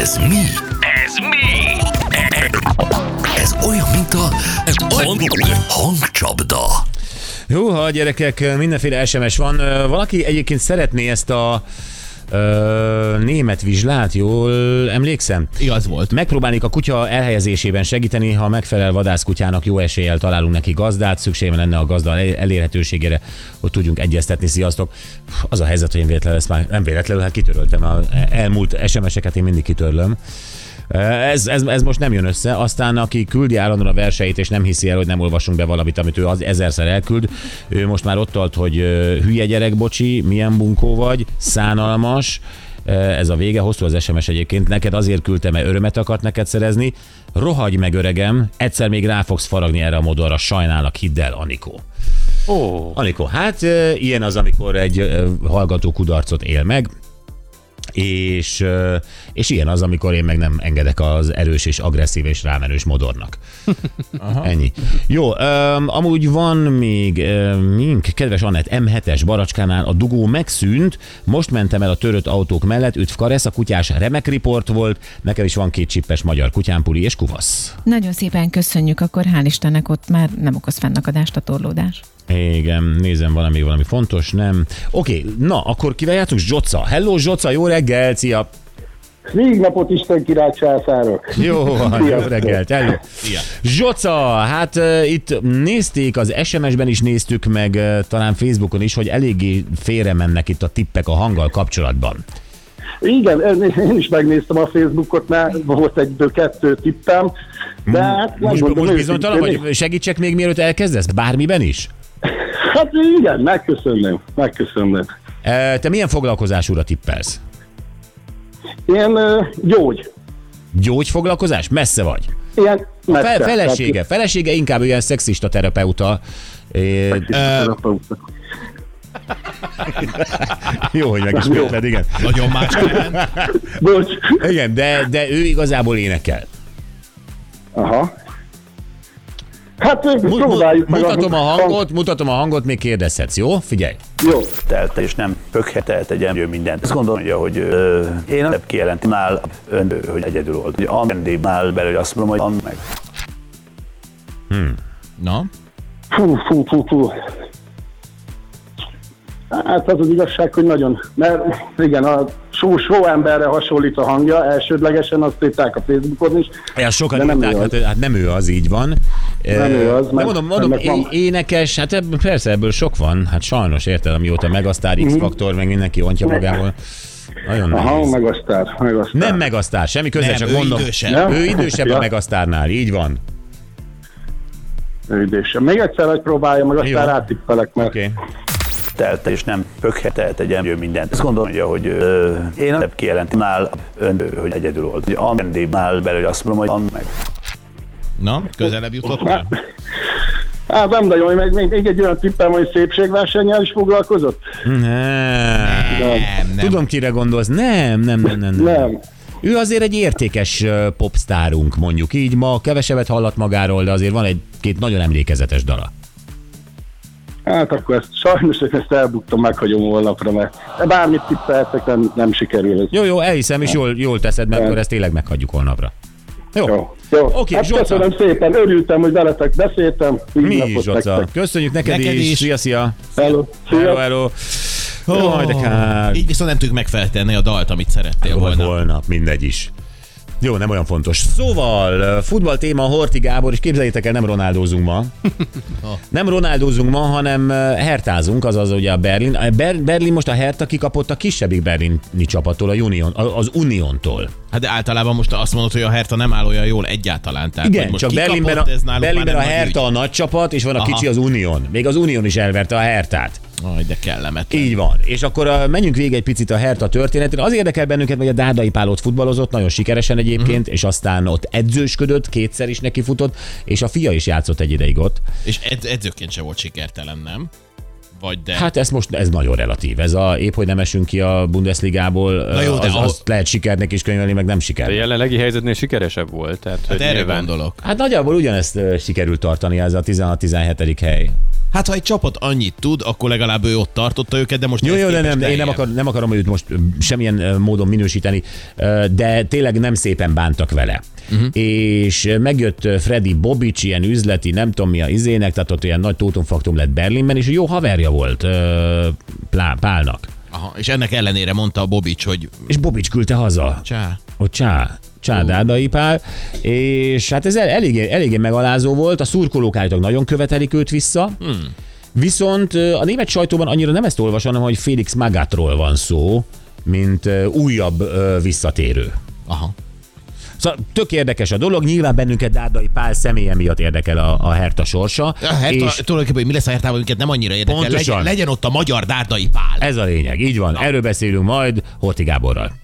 Ez mi? Ez mi? Ez olyan, mint a hangcsapda. Húha, gyerekek, mindenféle SMS van. Ö, Valaki egyébként szeretné ezt a ö, német vizslát, jól emlékszem? Igaz volt. Megpróbálnék a kutya elhelyezésében segíteni, ha megfelel vadászkutyának jó eséllyel találunk neki gazdát, szükségem lenne a gazda el- elérhetőségére, hogy tudjunk egyeztetni. Sziasztok! Puh, Az a helyzet, hogy én véletlenül ezt már nem véletlenül, hát kitöröltem a elmúlt SMS-eket, én mindig kitörlöm. Ez, ez, ez most nem jön össze. Aztán, aki küldi állandóan a verseit, és nem hiszi el, hogy nem olvasunk be valamit, amit ő az ezerszer elküld, ő most már ott tart, hogy ö, hülye gyerek, bocsi, milyen bunkó vagy, szánalmas, Ö, ez a vége, hosszú az SMS egyébként, neked azért küldtem, mert örömet akart neked szerezni, rohagy meg öregem, egyszer még rá fogsz faragni erre a modorra, sajnálak, hidd el, Anikó. Ó. Anikó, hát ö, ilyen az, amikor egy ö, hallgató kudarcot él meg, és, ö, és ilyen az, amikor én meg nem engedek az erős és agresszív és rámenős modornak. Aha. Ennyi. Jó, öm, amúgy van még öm, mink, kedves Anett, M7-es baracskánál a dugó megszűnt, most mentem el a törött autók mellett, üdv Karesz, a kutyás remek riport volt, nekem is van két csippes magyar kutyám, Puli és Kuvasz. Nagyon szépen köszönjük, akkor hál' Istennek ott már nem okoz fennakadást a torlódás. Igen, nézem, valami, valami fontos, nem? Oké, na, akkor kivel játszunk? Zsoca. Hello, Zsoca, jó reggel, szia! Négy napot Isten király császárok. Jó, van, jó Sziasztok. reggelt, hello. Zsoca, hát uh, itt nézték, az SMS-ben is néztük, meg uh, talán Facebookon is, hogy eléggé félre mennek itt a tippek a hanggal kapcsolatban. Igen, én- én is megnéztem a Facebookot, mert volt egyből kettő tippem, de hát nem Hmm. Most, most őszintén, bizonytalan vagy? Segítsek még mielőtt elkezdesz? Bármiben is? Hát igen, megköszönöm, megköszönöm. Uh, te milyen foglalkozásúra tippelsz? Ilyen ö, gyógy, Gyógyfoglalkozás? Messze vagy? ilyen messze. Fe- felesége, felesége inkább olyan szexista terapeuta. Ö, Tehát, Jó, hogy megismétled, igen. Nagyon más kellene. Bocs. Igen, de, de ő igazából énekel. Aha. Hát ö, Mu- mu- próbáljuk meg. mutatom a amit- hangot, mutatom a hangot, még kérdezhetsz, jó? Figyelj. Jó. telt, és nem pökhetelt egy emlő mindent. Ezt gondolja, hogy ö, én nem kijelentem nál ön, hogy egyedül volt. Ugye a vendégnál belül azt mondom, hogy an meg. Na, Fú, fú, fú, fú. Hát az az igazság, hogy nagyon. Mert igen, a só, só emberre hasonlít a hangja, elsődlegesen azt írták a Facebookon is. Ja, sokan De nem írták, ő hát, hát nem ő az, így van. Nem ő az, de mert mondom, mondom ennek é- van- énekes, hát ebből, persze ebből sok van, hát sajnos érted, amióta megasztár, X-faktor, meg mindenki ontja magából. Nagyon Mhm. Aha, nehéz. megasztár, megasztár. Nem megasztár, semmi köze, nem, csak ő mondom. idősebb. Nem? Ő idősebb a Ja. megasztárnál, így van. Üdése. Még egyszer, hogy próbáljam, meg aztán Jó. rátippelek, mert Oké. okay. Okay. Telt, és nem pökhetelt egy emlő mindent. Ezt gondolja, hogy ö, én nem kijelentem nál ön, hogy egyedül volt. Ugye a vendégnál belül azt mondom, hogy an meg. na, közelebb jutott már. Á, Hát nem nagyon, hogy még, még, még egy olyan tippem, hogy szépségversennyel is foglalkozott? Nem, nem. Tudom, kire gondolsz. Nem, nem, nem, nem. Nem. Ő azért egy értékes ö, popstárunk, mondjuk így. Ma kevesebbet hallat magáról, de azért van egy-két nagyon emlékezetes dala. Hát akkor ezt sajnos, hogy ezt elbuktam, meghagyom holnapra, mert bármit tippeltek, nem, nem sikerül. Jó, jó, elhiszem, és jól, jól teszed, mert akkor ezt tényleg meghagyjuk holnapra. Jó. Jó. Jó. Oké, hát Zsolca. köszönöm szépen, örültem, hogy veletek beszéltem. Így Mi napot is, Zsoca. nektek. Köszönjük neked, Neked is. is. Szia, szia. Hello. Hello, Szia. hello. Jaj, de kár. Így viszont nem tudjuk megfeltenni a dalt, amit szerettél Vagy volna. holnap, mindegy is. Jó, nem olyan fontos. Szóval, futball téma Horti Gábor, és képzeljétek el, nem ronaldózunk ma. nem ronaldózunk ma, hanem hertázunk, azaz ugye a Berlin. A Ber- Berlin most a Hertha kikapott a kisebbik berlini csapattól, a Union, a- az Uniontól. Hát de általában most azt mondod, hogy a Herta nem áll olyan jól egyáltalán. Tehát, hogy Igen, most csak kikapott, Berlinben a, ez náluk Berlinben a már nem nagy Hertha a nagy csapat, és van a Aha. kicsi az Union. Még az Union is elverte a Hertát. ügy. Aj, de kellemetlen. Így van. És akkor uh, menjünk végig egy picit a Hertha történetén. Az érdekel bennünket, hogy a Dárdai Pálót futballozott, nagyon sikeresen egyébként, Mhm. uh-huh. és aztán ott edzősködött, kétszer is nekifutott, és a fia is játszott egy ideig ott. És ed- edzőként se volt sikertelen, nem? Vagy de... Hát ez most ez nagyon relatív. Ez a épp, hogy nem esünk ki a Bundesligából, Na jó, de az, ahol- azt lehet sikernek is könyvelni, meg nem A siker. jelenlegi helyzetnél sikeresebb volt. Tehát, hát hogy erre nyilván gondolok. Hát nagyjából ugyanezt ö, sikerült tartani ez a 16-17. hely. Hát ha egy csapat annyit tud, akkor legalább ő ott tartotta őket, de most Jó, ehhez jó, de képest nem, én nem, lejjebb. akar, nem akarom őt most ö, semmilyen ö, módon minősíteni, ö, de tényleg nem szépen bántak vele. Uh-huh. És ö, megjött ö, Freddy Bobic, ilyen üzleti, nem tudom mi a izének, tehát ott ilyen nagy tótumfaktum lett Berlinben, és jó haverja volt ö, Plá- Pálnak. Aha, és ennek ellenére mondta a Bobics, hogy És Bobic küldte haza. csá, Ott csá, csádádai pál, és hát ez el- eléggé, eléggé megalázó volt, a szurkolók állítólag nagyon követelik őt vissza, hmm. viszont ö, a német sajtóban annyira nem ezt olvasom, hanem hogy Félix Magátról van szó, mint ö, újabb ö, visszatérő. aha. Szóval tök érdekes a dolog, nyilván bennünket Dárdai Pál személye miatt érdekel a, a Herta sorsa. A Herta, és Tulajdonképpen, hogy mi lesz a Hertában, minket nem annyira érdekel. Pontosan. Legyen, legyen ott a magyar dárdai pál. ez a lényeg, így van, erről beszélünk majd Horti Gáborral.